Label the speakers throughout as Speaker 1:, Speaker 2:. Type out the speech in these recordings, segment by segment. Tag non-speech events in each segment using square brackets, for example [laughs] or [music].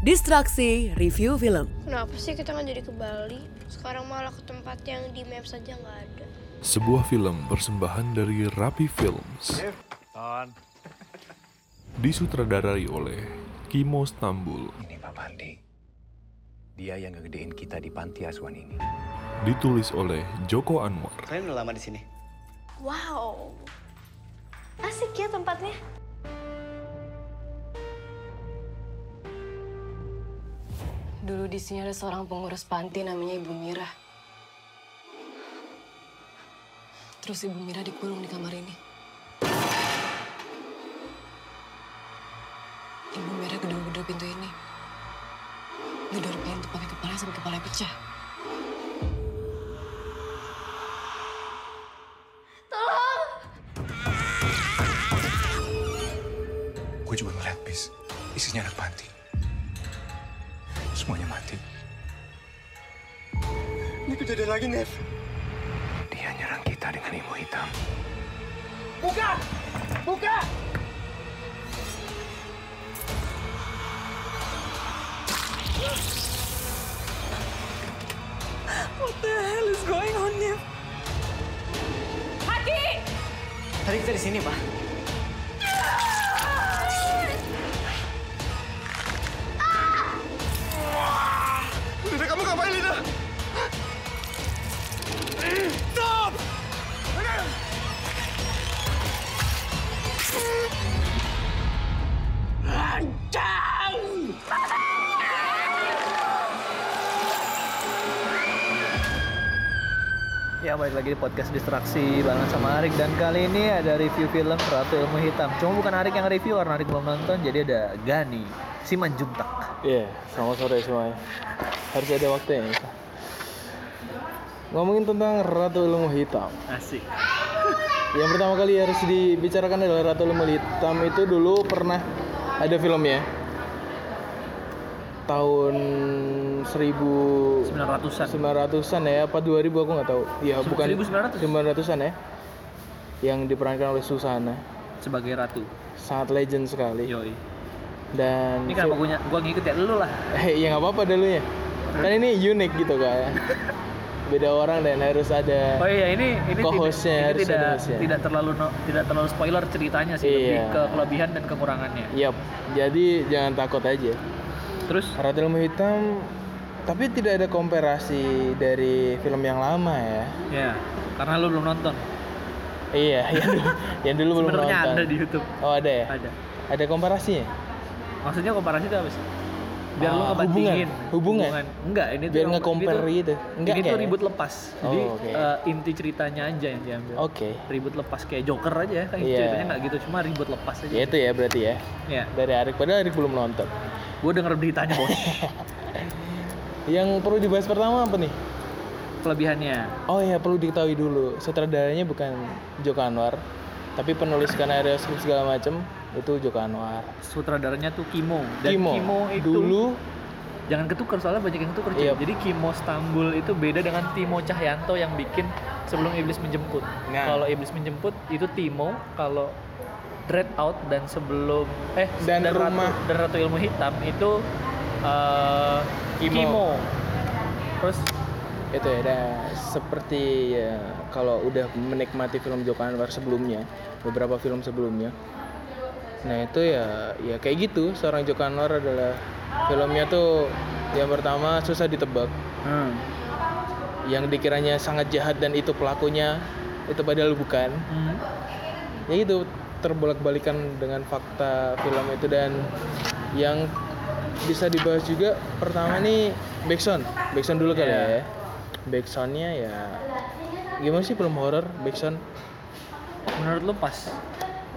Speaker 1: Distraksi Review Film.
Speaker 2: Kenapa sih kita nggak jadi ke Bali? Sekarang malah ke tempat yang di map saja nggak ada.
Speaker 3: Sebuah film persembahan dari Rapi Films
Speaker 4: On.
Speaker 3: disutradarai oleh Kimo Stambul,
Speaker 5: Ini Pak Pandi. Dia yang ngegedein kita di panti asuhan ini.
Speaker 3: ditulis oleh Joko Anwar,
Speaker 6: Kalian udah lama di sini?
Speaker 2: Wow, asik ya tempatnya.
Speaker 7: Dulu di sini ada seorang pengurus panti namanya Ibu Mira. Terus Ibu Mira dikurung di kamar ini. Ibu Mira gedor-gedor pintu ini. Gedor pintu pakai kepala sampai kepala pecah.
Speaker 5: Gue juga ngeliat bis. Isinya anak panti. Semuanya mati.
Speaker 6: Ini kejadian lagi, Nev.
Speaker 5: Dia nyerang kita dengan ilmu hitam.
Speaker 6: Tadi kita di sini, Pak.
Speaker 4: Lida, kamu ngapain, Lida?
Speaker 8: Ya balik lagi di podcast distraksi bareng sama Arik dan kali ini ada review film Ratu Ilmu Hitam. Cuma bukan Arik yang review karena Arik belum nonton jadi ada Gani Simanjuntak.
Speaker 9: Iya, selamat sore semuanya. Harus ada waktunya. ya. Ngomongin tentang Ratu Ilmu Hitam.
Speaker 8: Asik.
Speaker 9: Yang pertama kali harus dibicarakan adalah Ratu Ilmu Hitam itu dulu pernah ada filmnya. Tahun 1900
Speaker 8: 900-an.
Speaker 9: 900-an ya apa 2000 aku nggak tahu. Ya bukan
Speaker 8: 1900.
Speaker 9: 900-an ya. Yang diperankan oleh Susana.
Speaker 8: Sebagai ratu.
Speaker 9: Sangat legend sekali.
Speaker 8: Yoi. Iya.
Speaker 9: Dan
Speaker 8: Ini kan- kenapa gua, gua ngikut ya lu lah.
Speaker 9: [laughs] Eh, ya nggak apa-apa dulu ya. Kan ini unik gitu
Speaker 8: [laughs]
Speaker 9: kan. Beda orang dan harus
Speaker 8: Oh
Speaker 9: ada.
Speaker 8: iya ini ini,
Speaker 9: Co-hostnya
Speaker 8: tidak, ini
Speaker 9: harus ada
Speaker 8: tidak,
Speaker 9: hostnya.
Speaker 8: tidak terlalu no- tidak terlalu spoiler ceritanya sih lebih
Speaker 9: Iya.
Speaker 8: ke kelebihan dan kekurangannya.
Speaker 9: Yap. Jadi jangan takut aja.
Speaker 8: Terus
Speaker 9: Ratu Ilmu Hitam tapi tidak ada komparasi dari film yang lama ya.
Speaker 8: ya karena lu belum nonton.
Speaker 9: Iya, [laughs] yang dulu, yang dulu belum
Speaker 8: Sebenarnya
Speaker 9: nonton.
Speaker 8: ada di YouTube.
Speaker 9: Oh, ada ya?
Speaker 8: Ada.
Speaker 9: Ada komparasinya?
Speaker 8: Maksudnya komparasi itu apa sih? Biar lu
Speaker 9: Ah,
Speaker 8: ngebandingin
Speaker 9: hubungan. Hubungan?
Speaker 8: Enggak, ini tuh
Speaker 9: Biar
Speaker 8: yang-
Speaker 9: nge-compare
Speaker 8: ini
Speaker 9: gitu.
Speaker 8: tuh-
Speaker 9: Enggak
Speaker 8: Ini tuh
Speaker 9: ya?
Speaker 8: ribut lepas.
Speaker 9: Oh,
Speaker 8: Jadi
Speaker 9: oke.
Speaker 8: eh, inti ceritanya aja yang diambil.
Speaker 9: Oke.
Speaker 8: Ribut lepas kayak Joker aja ya, kan
Speaker 9: Iya.
Speaker 8: ceritanya nggak gitu, cuma ribut lepas aja.
Speaker 9: Ya itu ya berarti ya.
Speaker 8: Ya,
Speaker 9: Dari Arik padahal Arik belum nonton.
Speaker 8: gue denger beritanya
Speaker 9: [laughs]
Speaker 8: bos.
Speaker 9: Yang perlu dibahas pertama apa nih?
Speaker 8: Kelebihannya.
Speaker 9: Oh ya perlu diketahui dulu sutradaranya bukan Joko Anwar, tapi penulis skenario skrip segala macem itu Joko Anwar.
Speaker 8: Sutradaranya tuh Kimo. Dan
Speaker 9: Kimo,
Speaker 8: Kimo, itu
Speaker 9: dulu
Speaker 8: jangan ketukar soalnya banyak yang ketukar. cuy.
Speaker 9: Iya.
Speaker 8: Jadi Kimo Stambul itu beda dengan Timo Cahyanto yang bikin sebelum iblis menjemput.
Speaker 9: Nah.
Speaker 8: Kalau iblis menjemput itu Timo, kalau Dread Out dan sebelum eh
Speaker 9: Dan Rumah.
Speaker 8: Ratu, dan Ratu Ilmu Hitam itu eh,
Speaker 9: Kimo.
Speaker 8: Kimo. Terus
Speaker 9: itu ya, nah, seperti ya, kalau udah menikmati film Joko Anwar sebelumnya, beberapa film sebelumnya. Nah itu ya ya kayak gitu seorang Joko Anwar adalah filmnya tuh yang pertama susah ditebak,
Speaker 8: hmm.
Speaker 9: yang dikiranya sangat jahat dan itu pelakunya itu padahal bukan.
Speaker 8: hmm,
Speaker 9: ya itu terbolak-balikan dengan fakta film itu dan yang bisa dibahas juga pertama nih backsound backsound dulu kali
Speaker 8: Iya.
Speaker 9: ya backsoundnya ya gimana sih film horor backsound
Speaker 8: menurut lu pas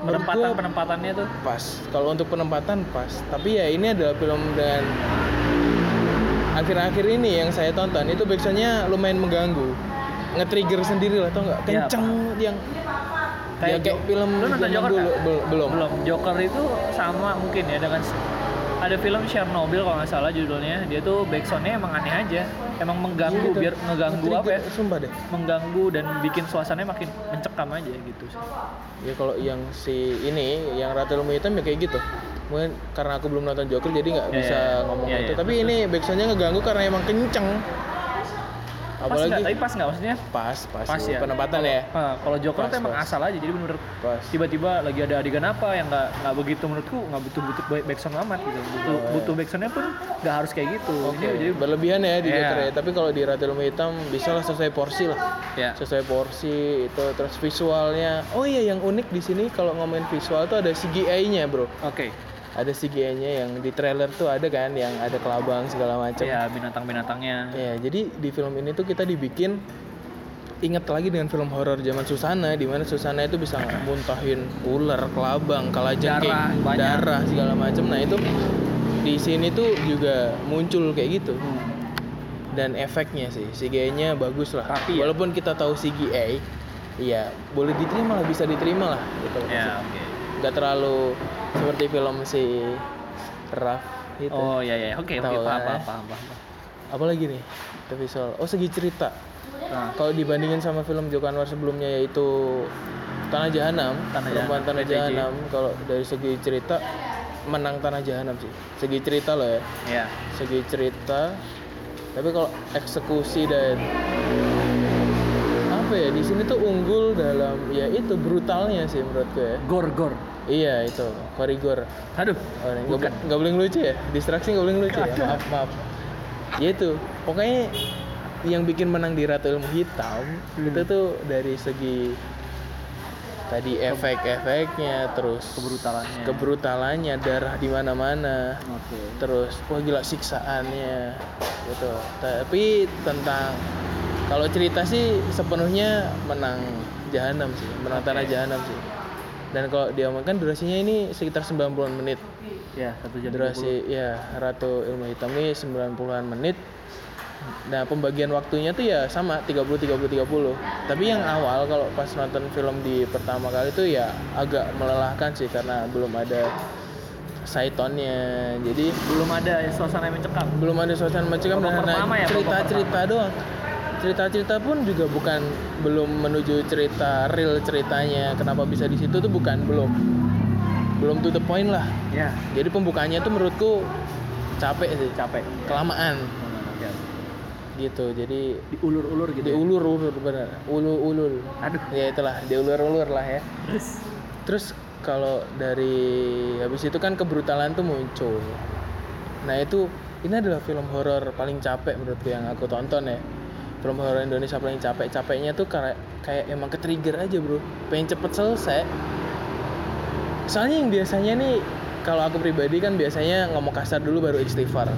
Speaker 9: Menurut
Speaker 8: penempatan
Speaker 9: gua-
Speaker 8: penempatannya tuh
Speaker 9: pas kalau untuk penempatan pas tapi ya ini adalah film dengan akhir-akhir ini yang saya tonton itu backsoundnya lumayan mengganggu nge-trigger sendiri lah tau nggak
Speaker 8: Iya,
Speaker 9: kenceng yang ya, kayak
Speaker 8: Jo-
Speaker 9: film
Speaker 8: Iya, lu nonton
Speaker 9: zaman
Speaker 8: Joker
Speaker 9: dulu
Speaker 8: nggak?
Speaker 9: Bel- belum
Speaker 8: belum Joker itu sama mungkin ya dengan s- ada film Chernobyl kalau nggak salah judulnya dia tuh backsoundnya emang aneh aja emang mengganggu
Speaker 9: Gitu.
Speaker 8: biar mengganggu apa ya
Speaker 9: Nge-trigger, Sumpah deh.
Speaker 8: mengganggu dan bikin suasananya makin mencekam aja gitu sih.
Speaker 9: Ya kalau yang si ini, yang Ratu Ilmu Hitam ya kayak gitu. Mungkin karena aku belum nonton Joker jadi nggak
Speaker 8: Ya,
Speaker 9: bisa
Speaker 8: ya.
Speaker 9: ngomong
Speaker 8: Ya,
Speaker 9: itu.
Speaker 8: ya,
Speaker 9: Tapi ini backsoundnya ngeganggu karena emang kenceng.
Speaker 8: pas nggak tapi
Speaker 9: Apalagi
Speaker 8: pas nggak maksudnya
Speaker 9: pas pas,
Speaker 8: Pas ya.
Speaker 9: penempatan ya.
Speaker 8: ah, kalau Joker
Speaker 9: Pas,
Speaker 8: tuh emang
Speaker 9: pas.
Speaker 8: asal aja jadi bener
Speaker 9: Pas.
Speaker 8: tiba-tiba lagi ada adegan apa yang nggak nggak begitu menurutku nggak butuh butuh back- backsound amat gitu butuh butuh backsoundnya pun nggak harus kayak gitu
Speaker 9: Oh, iya. Oke,
Speaker 8: Ini jadi
Speaker 9: berlebihan ya di
Speaker 8: Iya.
Speaker 9: Joker ya. Tapi kalau di Ratu Ilmu Hitam bisa lah sesuai porsi lah.
Speaker 8: ya
Speaker 9: Sesuai porsi itu terus visualnya. Oh iya yang unik di sini kalau ngomongin visual tuh ada CGI-nya, Bro.
Speaker 8: oke
Speaker 9: Ada CGI-nya yang di trailer tuh ada kan yang ada kelabang segala macam.
Speaker 8: ya binatang-binatangnya
Speaker 9: Ya, jadi di film ini tuh kita dibikin inget lagi dengan film horor zaman Susana, di mana Susana itu bisa muntahin ular, kelabang, kalajengking,
Speaker 8: Darah, banyak.
Speaker 9: darah segala macam. Nah itu di sini tuh juga muncul kayak gitu
Speaker 8: Hmm.
Speaker 9: dan efeknya sih CGI-nya bagus lah.
Speaker 8: Tapi ya-
Speaker 9: Walaupun kita tahu CGI, ya boleh diterima lah, bisa diterima lah gitu.
Speaker 8: ya oke
Speaker 9: Gak terlalu seperti film si Raf itu.
Speaker 8: oh ya ya oke oke
Speaker 9: Gitu. Tahu
Speaker 8: paham
Speaker 9: lah ya.
Speaker 8: paham paham paham
Speaker 9: Apalagi nih, The visual. Oh segi cerita.
Speaker 8: nah,
Speaker 9: Kalau dibandingin sama film Joko Anwar sebelumnya yaitu Tanah Jahanam,
Speaker 8: Tanah
Speaker 9: Perempuan
Speaker 8: Jahanam,
Speaker 9: Tanah
Speaker 8: PTJ.
Speaker 9: Jahanam, kalau dari segi cerita menang Tanah Jahanam sih. Segi cerita loh ya,
Speaker 8: ya
Speaker 9: segi cerita. Tapi kalau eksekusi dan apa ya di sini tuh unggul dalam ya itu brutalnya sih menurut gue. ya.
Speaker 8: gor gor
Speaker 9: Iya itu korigor.
Speaker 8: aduh
Speaker 9: Oh, nggak bo- nggak boleh ngelucu ya? Distraksi nggak boleh ngelucu ya? Maaf, maaf. Ya itu, pokoknya yang bikin menang di Ratu Ilmu Hitam itu tuh dari segi tadi efek-efeknya, terus
Speaker 8: Kebrutalannya.
Speaker 9: kebrutalannya, darah di mana-mana,
Speaker 8: oke
Speaker 9: terus wah gila siksaannya, gitu. Tapi tentang kalau cerita sih sepenuhnya menang Jahanam sih, menang Tanah Jahanam sih. Dan kalau diamankan durasinya ini sekitar 90 menit
Speaker 8: ya satu jam
Speaker 9: durasi ya Ratu Ilmu Hitam ini 90-an menit. Nah, pembagian waktunya tuh ya sama 30 30 30. Tapi yang awal kalau pas nonton film di pertama kali tuh ya agak melelahkan sih karena belum ada saitonnya. Jadi
Speaker 8: 20. belum ada suasana yang mencekam
Speaker 9: belum ada suasana mencekam
Speaker 8: Babak
Speaker 9: dan
Speaker 8: pertama ya, babak
Speaker 9: cerita-cerita doang. Cerita-cerita pun juga bukan belum menuju cerita real ceritanya. Kenapa bisa di situ tuh bukan belum. Belum to the point lah.
Speaker 8: ya
Speaker 9: Jadi pembukaannya tuh menurutku capek sih, capek. Kelamaan
Speaker 8: Oke, oke.
Speaker 9: gitu. Jadi
Speaker 8: Iya. diulur-ulur gitu ya?
Speaker 9: diulur-ulur benar. Ulu-ulul.
Speaker 8: Aduh.
Speaker 9: Ya itulah, diulur-ulur lah ya. Terus kalau dari habis itu kan kebrutalan tuh muncul. Nah, itu ini adalah film horor paling capek menurutku yang aku tonton ya. Film horor Indonesia paling capek. Capeknya tuh kayak kayak emang ke-trigger aja, Bro. Pengen cepet selesai. Soalnya yang biasanya nih kalau aku pribadi kan biasanya ngomong kasar dulu baru istighfar.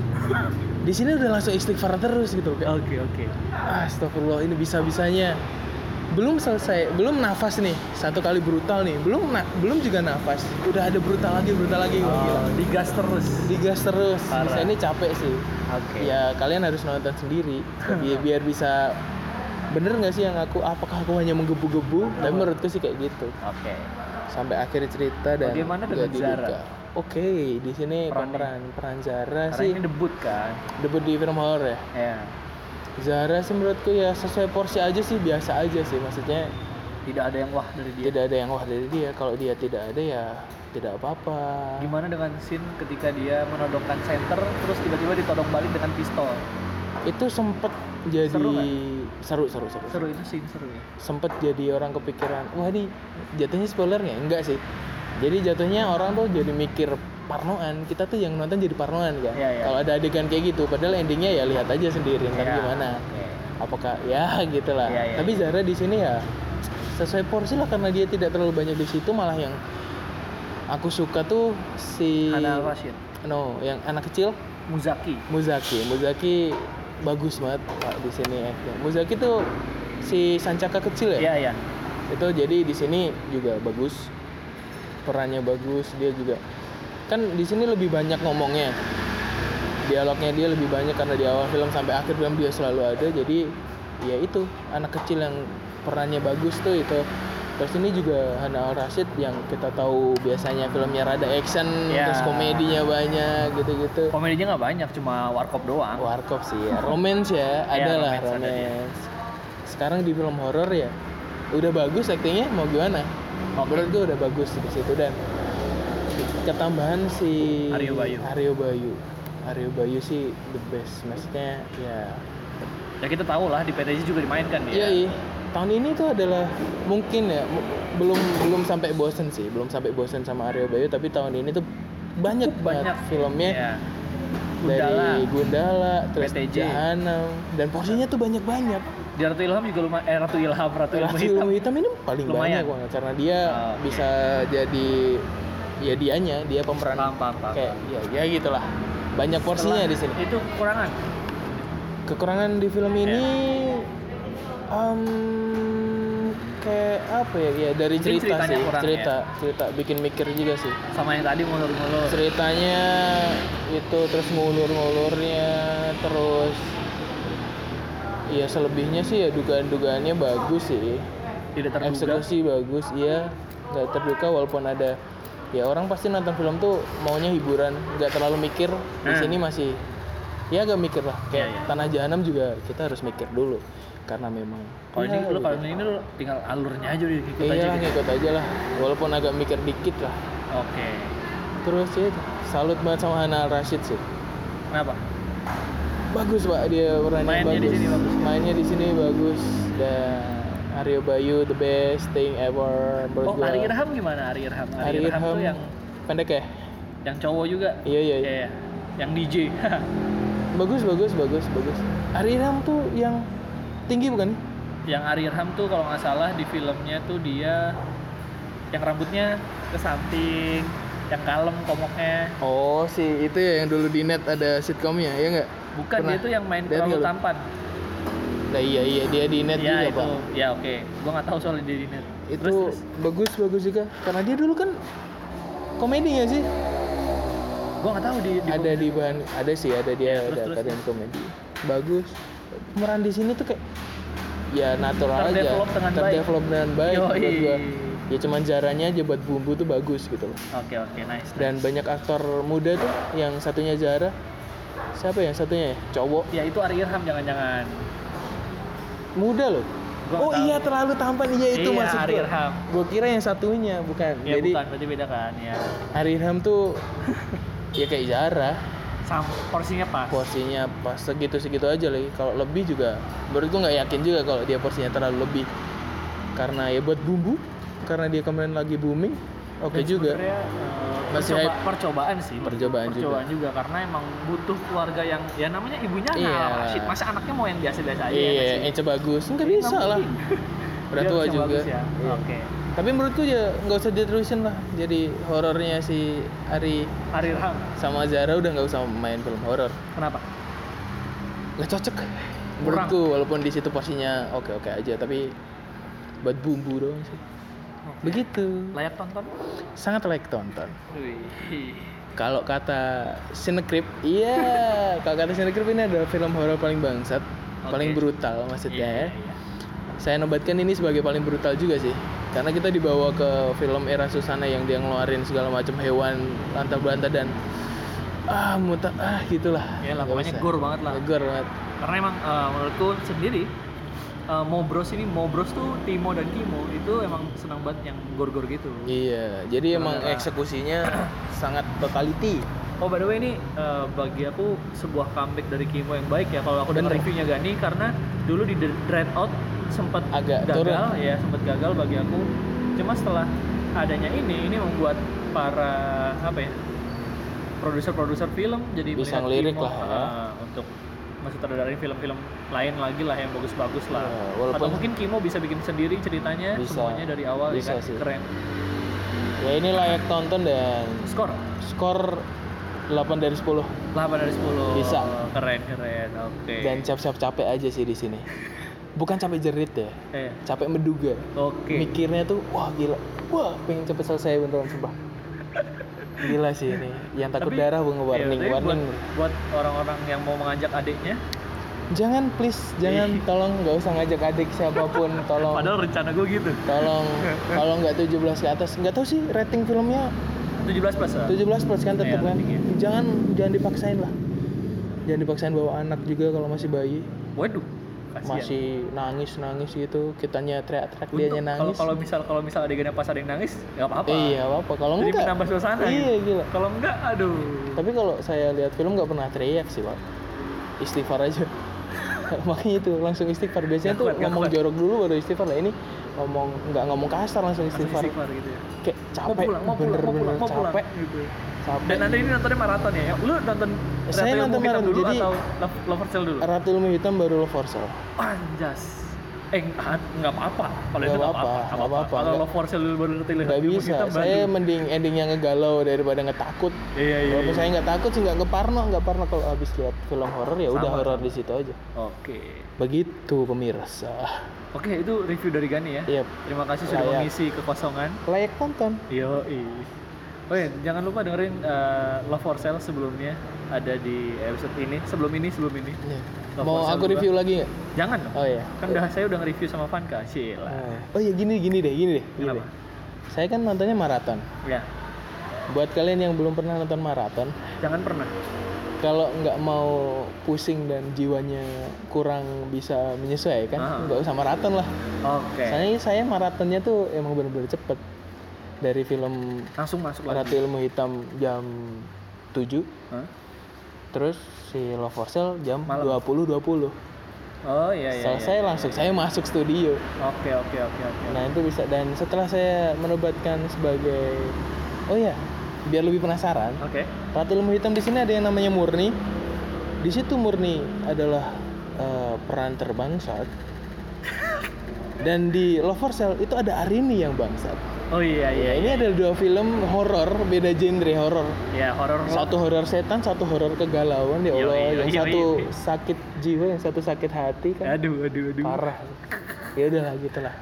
Speaker 9: Di sini udah langsung istighfar terus gitu. Kayak,
Speaker 8: oke oke
Speaker 9: Astagfirullah ini bisa-bisanya belum selesai, belum nafas nih satu kali brutal nih, belum na- belum juga nafas, udah ada brutal lagi brutal lagi Wah, gila.
Speaker 8: Oh, digas terus Iya.
Speaker 9: digas terus,
Speaker 8: Parah.
Speaker 9: Bisa ini capek sih.
Speaker 8: oke
Speaker 9: Ya kalian harus nonton sendiri biar, biar bisa bener nggak sih yang aku apakah aku hanya menggebu-gebu? Tapi menurutku sih kayak gitu
Speaker 8: oke
Speaker 9: sampai akhir cerita dan
Speaker 8: Bagaimana dengan
Speaker 9: jadi
Speaker 8: Zara?
Speaker 9: duka. Oke, di sini
Speaker 8: Perannya.
Speaker 9: pemeran peran Zara
Speaker 8: karena
Speaker 9: sih
Speaker 8: ini debut kan
Speaker 9: debut di film horor ya.
Speaker 8: ya
Speaker 9: Zara sih menurutku ya sesuai porsi aja sih biasa aja sih maksudnya
Speaker 8: tidak ada yang wah dari dia
Speaker 9: tidak ada yang wah dari dia kalau dia tidak ada ya tidak apa-apa
Speaker 8: gimana dengan scene ketika dia menodongkan center terus tiba-tiba ditodong balik dengan pistol
Speaker 9: itu sempet jadi
Speaker 8: Seru nggak?
Speaker 9: seru seru seru,
Speaker 8: seru itu scene seru ya
Speaker 9: sempet jadi orang kepikiran wah ini jatuhnya spoiler nggak enggak sih jadi jatuhnya orang tuh jadi mikir parnoan kita tuh yang nonton jadi parnoan kan
Speaker 8: Iya, iya.
Speaker 9: kalau ada adegan kayak gitu padahal endingnya ya lihat aja sendiri ntar
Speaker 8: Iya.
Speaker 9: gimana
Speaker 8: Oke.
Speaker 9: apakah ya gitulah
Speaker 8: Iya, iya,
Speaker 9: tapi
Speaker 8: iya.
Speaker 9: Zara di sini ya sesuai porsi lah karena dia tidak terlalu banyak di situ malah yang aku suka tuh si
Speaker 8: Hana Rashid
Speaker 9: no yang anak kecil
Speaker 8: Muzaki
Speaker 9: Muzaki Muzaki bagus banget pak di sini actnya. Muzaki tuh si Sancaka kecil
Speaker 8: iya
Speaker 9: ya
Speaker 8: iya
Speaker 9: itu jadi di sini juga bagus perannya bagus dia juga kan di sini lebih banyak ngomongnya dialognya dia lebih banyak karena di awal film sampai akhir film dia selalu ada jadi ya itu anak kecil yang perannya bagus tuh itu Terus ini juga Hana Al Rashid yang kita tahu biasanya filmnya rada action,
Speaker 8: Ya.
Speaker 9: terus komedinya banyak gitu-gitu.
Speaker 8: Komedinya nggak banyak, cuma warkop doang.
Speaker 9: Warkop sih ya.
Speaker 8: [laughs]
Speaker 9: Romance ya,
Speaker 8: Ya,
Speaker 9: ada lah
Speaker 8: romance ada dia.
Speaker 9: romance. Sekarang di film horor ya, udah bagus aktingnya mau gimana? Menurut gue udah bagus di situ dan ketambahan si
Speaker 8: Aryo Bayu.
Speaker 9: Aryo Bayu. Aryo Bayu sih the best maksudnya ya.
Speaker 8: Ya kita tahu lah di PTJ juga dimainkan ya.
Speaker 9: Iya,
Speaker 8: dia.
Speaker 9: iya. tahun ini tuh adalah mungkin ya mu- belum belum sampai bosen sih, belum sampai bosen sama Aryo Bayu tapi tahun ini tuh banyak
Speaker 8: Cukup
Speaker 9: banget
Speaker 8: banyak.
Speaker 9: filmnya
Speaker 8: Iya. Gundala.
Speaker 9: dari Gundala, terus
Speaker 8: PTJ.
Speaker 9: Jahanam dan porsinya tuh banyak-banyak.
Speaker 8: Di Ratu Ilham juga lumayan, eh Ratu Ilham, Ratu Ilmu
Speaker 9: Ratu
Speaker 8: Hitam.
Speaker 9: Ilmu Hitam ini paling
Speaker 8: Lumayan.
Speaker 9: banyak banget karena dia
Speaker 8: Ah, oke.
Speaker 9: bisa jadi ya dianya, dia pemeran
Speaker 8: Paham, paham, paham.
Speaker 9: kayak ya ya gitulah. Banyak
Speaker 8: Setelah
Speaker 9: porsinya ya di sini.
Speaker 8: Itu kekurangan.
Speaker 9: Kekurangan di film ini
Speaker 8: Ya.
Speaker 9: em, kayak apa ya? Ya dari
Speaker 8: Mungkin
Speaker 9: cerita
Speaker 8: ceritanya
Speaker 9: sih,
Speaker 8: kurang, ya.
Speaker 9: cerita, cerita bikin mikir juga sih.
Speaker 8: Sama yang tadi ngulur-ngulur.
Speaker 9: Ceritanya itu terus ngulur-ngulurnya terus ya selebihnya sih ya dugaan-dugaannya bagus sih.
Speaker 8: Tidak terduga.
Speaker 9: eksekusi bagus iya nggak terduga walaupun ada ya orang pasti nonton film tuh maunya hiburan nggak terlalu mikir di
Speaker 8: Hmm.
Speaker 9: sini masih ya agak mikir lah
Speaker 8: Iya,
Speaker 9: kayak
Speaker 8: iya.
Speaker 9: tanah jahanam juga kita harus mikir dulu karena memang
Speaker 8: Kalau ini
Speaker 9: ya,
Speaker 8: lu kalau
Speaker 9: gitu.
Speaker 8: ini lu tinggal alurnya aja udah ikut aja.
Speaker 9: iya
Speaker 8: gitu.
Speaker 9: ngikut aja lah walaupun agak mikir dikit lah
Speaker 8: Oke.
Speaker 9: terus ya salut banget sama Hana Rashid sih
Speaker 8: Kenapa?
Speaker 9: bagus pak dia perannya
Speaker 8: Mainnya di
Speaker 9: bagus.
Speaker 8: sini bagus.
Speaker 9: mainnya di sini bagus dan Aryo Bayu the best thing ever
Speaker 8: Oh,
Speaker 9: menurut gua.
Speaker 8: Ari Irham gimana? Ari Irham. Ari
Speaker 9: Ari
Speaker 8: Irham
Speaker 9: Irham
Speaker 8: tuh yang
Speaker 9: pendek ya?
Speaker 8: yang cowok juga.
Speaker 9: Iya iya. iya.
Speaker 8: Iya, iya. Yang DJ.
Speaker 9: Bagus bagus bagus bagus. Ari Irham tuh yang tinggi bukan?
Speaker 8: [laughs] yang Ari Irham tuh kalau nggak salah di filmnya tuh dia yang rambutnya ke samping, yang kalem komoknya.
Speaker 9: Oh si itu ya yang dulu di net ada sitcomnya ya nggak?
Speaker 8: Bukan
Speaker 9: Pernah.
Speaker 8: dia tuh yang main
Speaker 9: Lihat
Speaker 8: terlalu
Speaker 9: nggak lu?
Speaker 8: tampan.
Speaker 9: Nah iya iya dia di net
Speaker 8: Iya
Speaker 9: juga
Speaker 8: itu.
Speaker 9: pak.
Speaker 8: Ya oke. Gua nggak tahu soal dia di net.
Speaker 9: Itu
Speaker 8: Terus, terus.
Speaker 9: bagus bagus juga karena dia dulu kan komedi ya sih.
Speaker 8: Gua nggak tahu di, di
Speaker 9: ada di bahan ada sih ada dia
Speaker 8: terus,
Speaker 9: ada
Speaker 8: terus.
Speaker 9: kadang komedi. Bagus. Pemeran di sini tuh kayak ya natural
Speaker 8: Terdevelop
Speaker 9: aja.
Speaker 8: dengan baik.
Speaker 9: Terdevelop dengan baik.
Speaker 8: Yoi.
Speaker 9: menurut gua. Ya cuman jaranya aja buat bumbu tuh bagus gitu loh.
Speaker 8: Oke oke nice.
Speaker 9: dan banyak aktor muda tuh yang satunya Zara siapa yang satunya ya? cowok
Speaker 8: Ya itu Ari Irham jangan-jangan.
Speaker 9: muda loh
Speaker 8: Gua
Speaker 9: oh
Speaker 8: nggak tahu.
Speaker 9: iya terlalu tampan iya itu
Speaker 8: Iya,
Speaker 9: maksud
Speaker 8: Ari
Speaker 9: gua.
Speaker 8: Irham.
Speaker 9: Gua kira yang satunya bukan
Speaker 8: Ya
Speaker 9: jadi
Speaker 8: bukan berarti beda kan ya.
Speaker 9: Ari Irham tuh ya kayak Zara
Speaker 8: Sam, porsinya pas.
Speaker 9: porsinya pas segitu segitu aja lagi kalau lebih juga baru gua nggak yakin juga kalau dia porsinya terlalu lebih karena ya buat bumbu karena dia kemarin lagi booming oke
Speaker 8: Dan
Speaker 9: juga
Speaker 8: sebenarnya, eh,
Speaker 9: Masih
Speaker 8: percoba-
Speaker 9: hype.
Speaker 8: percobaan sih menurut gua.
Speaker 9: Percobaan juga.
Speaker 8: percobaan juga. karena emang butuh keluarga yang ya namanya ibunya
Speaker 9: Iya.
Speaker 8: nggak Rashid masa anaknya mau yang biasa-biasa aja ya nggak
Speaker 9: iya
Speaker 8: sih?
Speaker 9: Ence bagus nggak
Speaker 8: Jadi
Speaker 9: bisa
Speaker 8: nggak
Speaker 9: lah
Speaker 8: mungkin.
Speaker 9: udah
Speaker 8: Dia
Speaker 9: tua
Speaker 8: harus yang
Speaker 9: juga
Speaker 8: bagus ya.
Speaker 9: Iya.
Speaker 8: oke
Speaker 9: tapi menurutku ya nggak usah diterusin lah jadi horornya si Ari
Speaker 8: Ari Irham
Speaker 9: sama Zara udah nggak usah main film horor
Speaker 8: kenapa
Speaker 9: nggak cocok menurutku walaupun di situ porsinya oke oke aja tapi buat bumbu doang sih begitu
Speaker 8: layak tonton
Speaker 9: sangat layak tonton
Speaker 8: Wih.
Speaker 9: kalau kata Cinecrip iya kalau kata Cinecrip ini adalah film horor paling bangsat paling
Speaker 8: Oke.
Speaker 9: brutal maksudnya
Speaker 8: Iya,
Speaker 9: ya
Speaker 8: iya, iya.
Speaker 9: saya nobatkan ini sebagai paling brutal juga sih karena kita dibawa ke film era susana yang dia ngeluarin segala macam hewan lantar belanta dan ah muta ah gitulah
Speaker 8: ya lah
Speaker 9: Nggak
Speaker 8: pokoknya
Speaker 9: usah.
Speaker 8: gore banget lah
Speaker 9: Gore banget
Speaker 8: karena emang eh, menurutku sendiri eh, Mobros ini Mobros tuh Timo dan Kimo itu emang senang banget yang gore-gore gitu
Speaker 9: iya jadi emang
Speaker 8: Bener.
Speaker 9: eksekusinya sangat totality
Speaker 8: Oh by the way ini eh, bagi aku sebuah comeback dari Kimo yang baik ya kalau aku dengar
Speaker 9: Bener.
Speaker 8: reviewnya Gani karena dulu di The Dread Out sempat
Speaker 9: Agak
Speaker 8: gagal
Speaker 9: turun.
Speaker 8: ya sempat gagal bagi aku cuma setelah adanya ini ini membuat para apa ya produser-produser film jadi
Speaker 9: Bisa
Speaker 8: melihat
Speaker 9: ngelirik
Speaker 8: Kimo,
Speaker 9: lah ya.
Speaker 8: eh, untuk mensutradarain film-film lain lagi lah yang bagus-bagus lah
Speaker 9: Ya, walaupun-
Speaker 8: atau mungkin Kimo bisa bikin sendiri ceritanya
Speaker 9: Bisa.
Speaker 8: semuanya dari awal
Speaker 9: Bisa
Speaker 8: ya kan
Speaker 9: sih.
Speaker 8: keren
Speaker 9: ya ini layak tonton dan
Speaker 8: skor
Speaker 9: skor 8 dari 10
Speaker 8: 8 dari 10
Speaker 9: Bisa.
Speaker 8: keren keren oke
Speaker 9: dan cap-cap capek aja sih di sini bukan capek jerit ya
Speaker 8: Eh,
Speaker 9: capek menduga
Speaker 8: Oke.
Speaker 9: mikirnya tuh wah gila wah pengen cepet selesai beneran sumpah gila sih ini yang takut
Speaker 8: Tapi-
Speaker 9: darah gue warning
Speaker 8: Iya, tapi
Speaker 9: warning
Speaker 8: Buat, buat orang-orang yang mau mengajak adiknya,
Speaker 9: jangan please jangan tolong nggak usah ngajak adik
Speaker 8: [laughs]
Speaker 9: siapapun
Speaker 8: Iya.
Speaker 9: tolong
Speaker 8: Padahal rencana gue gitu.
Speaker 9: tolong kalau nggak 17 ke atas nggak tahu sih rating filmnya
Speaker 8: 17 plus. ah.
Speaker 9: 17 plus kan tetap
Speaker 8: Iya,
Speaker 9: kan
Speaker 8: ratingnya.
Speaker 9: jangan jangan dipaksain lah jangan dipaksain bawa anak juga kalau masih bayi
Speaker 8: Waduh. kasihan.
Speaker 9: masih nangis nangis gitu kitanya teriak-teriak
Speaker 8: Untung
Speaker 9: dianya
Speaker 8: Kalau
Speaker 9: nangis
Speaker 8: kalau misal kalau misal adegannya pas ada yang nangis, nggak apa-apa.
Speaker 9: iya apa kalau
Speaker 8: Jadi
Speaker 9: enggak
Speaker 8: menambah suasana.
Speaker 9: iya
Speaker 8: gitu.
Speaker 9: gila
Speaker 8: Kalau enggak, aduh.
Speaker 9: tapi kalau saya lihat film nggak pernah teriak sih pak istighfar aja [laughs] makanya itu langsung istighfar biasanya
Speaker 8: Nggak
Speaker 9: tuh
Speaker 8: kuat, nggak
Speaker 9: ngomong
Speaker 8: kuat.
Speaker 9: jorok dulu baru istighfar lah ini ngomong nggak ngomong kasar langsung
Speaker 8: Langsung
Speaker 9: istighfar,
Speaker 8: istighfar gitu ya.
Speaker 9: kayak
Speaker 8: Mau
Speaker 9: capek
Speaker 8: pulang, mau pulang, mau
Speaker 9: bener-bener
Speaker 8: pulang, mau pulang.
Speaker 9: capek
Speaker 8: Gitu.
Speaker 9: capek
Speaker 8: Dan nanti ini nontonnya maraton ya. Lu nonton
Speaker 9: Saya
Speaker 8: Rafael
Speaker 9: nonton
Speaker 8: Mohitam
Speaker 9: maraton,
Speaker 8: dulu
Speaker 9: jadi-
Speaker 8: atau Love, Lover Cell dulu?
Speaker 9: Ratu Ilmu Hitam baru Love for Sale.
Speaker 8: Panjas. Eh, ah, nggak apa-apa. Kalau itu
Speaker 9: Nggak
Speaker 8: nggak apa-apa. nggak
Speaker 9: apa-apa, nggak
Speaker 8: apa-apa.
Speaker 9: apa-apa.
Speaker 8: Kalau
Speaker 9: Nggak-
Speaker 8: Love for Sale dulu baru ngerti
Speaker 9: Nggak bisa, saya mending endingnya ngegalau daripada ngetakut.
Speaker 8: Iya, iya,
Speaker 9: Walaupun
Speaker 8: iya.
Speaker 9: saya nggak takut sih nggak keparno, nggak parno kalau habis lihat film horor ya udah horor di situ aja.
Speaker 8: Oke.
Speaker 9: Begitu pemirsa.
Speaker 8: Oke, itu review dari Gani ya.
Speaker 9: Yep.
Speaker 8: Terima kasih sudah
Speaker 9: Layak.
Speaker 8: mengisi kekosongan.
Speaker 9: Layak tonton.
Speaker 8: Yoi. Oh iya, jangan lupa dengerin eh, Love for Sale sebelumnya ada di episode ini, sebelum ini, sebelum ini.
Speaker 9: Iya.
Speaker 8: Love
Speaker 9: Mau
Speaker 8: for Sale
Speaker 9: aku
Speaker 8: juga.
Speaker 9: review lagi nggak?
Speaker 8: Jangan dong.
Speaker 9: Oh iya.
Speaker 8: Kan udah saya udah nge-review sama Vanka, Sheila.
Speaker 9: Oh iya gini gini deh, gini deh. Gini
Speaker 8: Kenapa?
Speaker 9: deh. Saya kan nontonnya maraton.
Speaker 8: Ya,
Speaker 9: Buat kalian yang belum pernah nonton maraton,
Speaker 8: jangan pernah.
Speaker 9: kalau nggak mau pusing dan jiwanya kurang
Speaker 8: Ah.
Speaker 9: bisa menyesuaikan, kan? nggak usah maraton lah.
Speaker 8: Oke.
Speaker 9: Soalnya saya maratonnya tuh emang bener-bener cepet dari film
Speaker 8: Langsung masuk lagi.
Speaker 9: Ratu Ilmu Hitam jam 7
Speaker 8: Hah?
Speaker 9: terus si Love for Sale jam
Speaker 8: Malam.
Speaker 9: 20.20
Speaker 8: Oh iya iya. iya.
Speaker 9: selesai langsung saya masuk studio
Speaker 8: Oke oke oke oke.
Speaker 9: nah itu bisa dan setelah saya menobatkan sebagai oh ya biar lebih penasaran
Speaker 8: Oke.
Speaker 9: Ratu Ilmu Hitam di sini ada yang namanya Murni. Di situ Murni adalah eh, peran terbangsat. Dan di Love for Sale itu ada Arini yang bangsat.
Speaker 8: Oh iya iya.
Speaker 9: Ya, ini ada dua film horor beda genre horor.
Speaker 8: Ya horor
Speaker 9: Satu horor setan, satu horor kegalauan ya
Speaker 8: Yoi,
Speaker 9: Allah.
Speaker 8: yoi,
Speaker 9: yang
Speaker 8: yoi.
Speaker 9: satu sakit jiwa, yang satu sakit hati kan.
Speaker 8: Aduh aduh iya. aduh.
Speaker 9: Parah. Ya udahlah gitulah.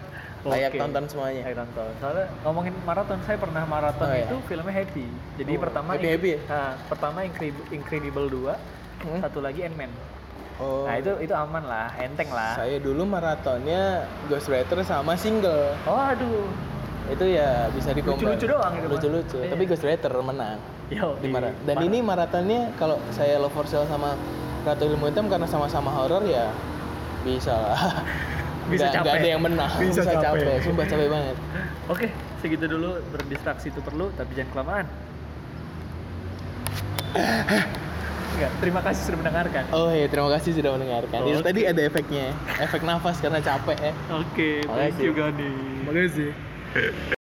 Speaker 9: Layak
Speaker 8: Oke. Nah,
Speaker 9: tonton semuanya.
Speaker 8: Saya nonton. Soalnya ngomongin maraton, saya pernah maraton
Speaker 9: Oh, iya.
Speaker 8: itu filmnya Happy. Jadi
Speaker 9: Oh,
Speaker 8: pertama
Speaker 9: Happy Happy ya?
Speaker 8: Nah, pertama Incredible, Incredible 2,
Speaker 9: Hmm.
Speaker 8: satu lagi Ant-Man.
Speaker 9: Oh,
Speaker 8: Nah, itu itu aman lah, enteng lah.
Speaker 9: saya dulu maratonnya Ghost Rider sama single.
Speaker 8: Oh, aduh.
Speaker 9: itu ya bisa dikombin
Speaker 8: Lucu-lucu doang itu, Mas.
Speaker 9: lucu-lucu
Speaker 8: Iya.
Speaker 9: tapi Ghost Rider menang
Speaker 8: Yo, iya.
Speaker 9: di
Speaker 8: ih,
Speaker 9: mara- dan
Speaker 8: parah.
Speaker 9: ini maratonnya kalau saya Love for Sale sama Ratu Ilmu Hitam karena sama-sama horor ya bisa lah
Speaker 8: Bisa
Speaker 9: Nggak- nggak
Speaker 8: capek.
Speaker 9: ada yang menang
Speaker 8: Bisa capek.
Speaker 9: sumpah capek banget
Speaker 8: Oke, segitu dulu berdistraksi itu perlu, tapi jangan
Speaker 9: [laughs]
Speaker 8: kelamaan. Enggak, terima kasih sudah mendengarkan.
Speaker 9: oh iya terima kasih sudah mendengarkan itu
Speaker 8: Oke.
Speaker 9: tadi ada efeknya efek nafas karena capek ya
Speaker 8: Oke, thank
Speaker 9: Makasih.
Speaker 8: you Gani. Makasih.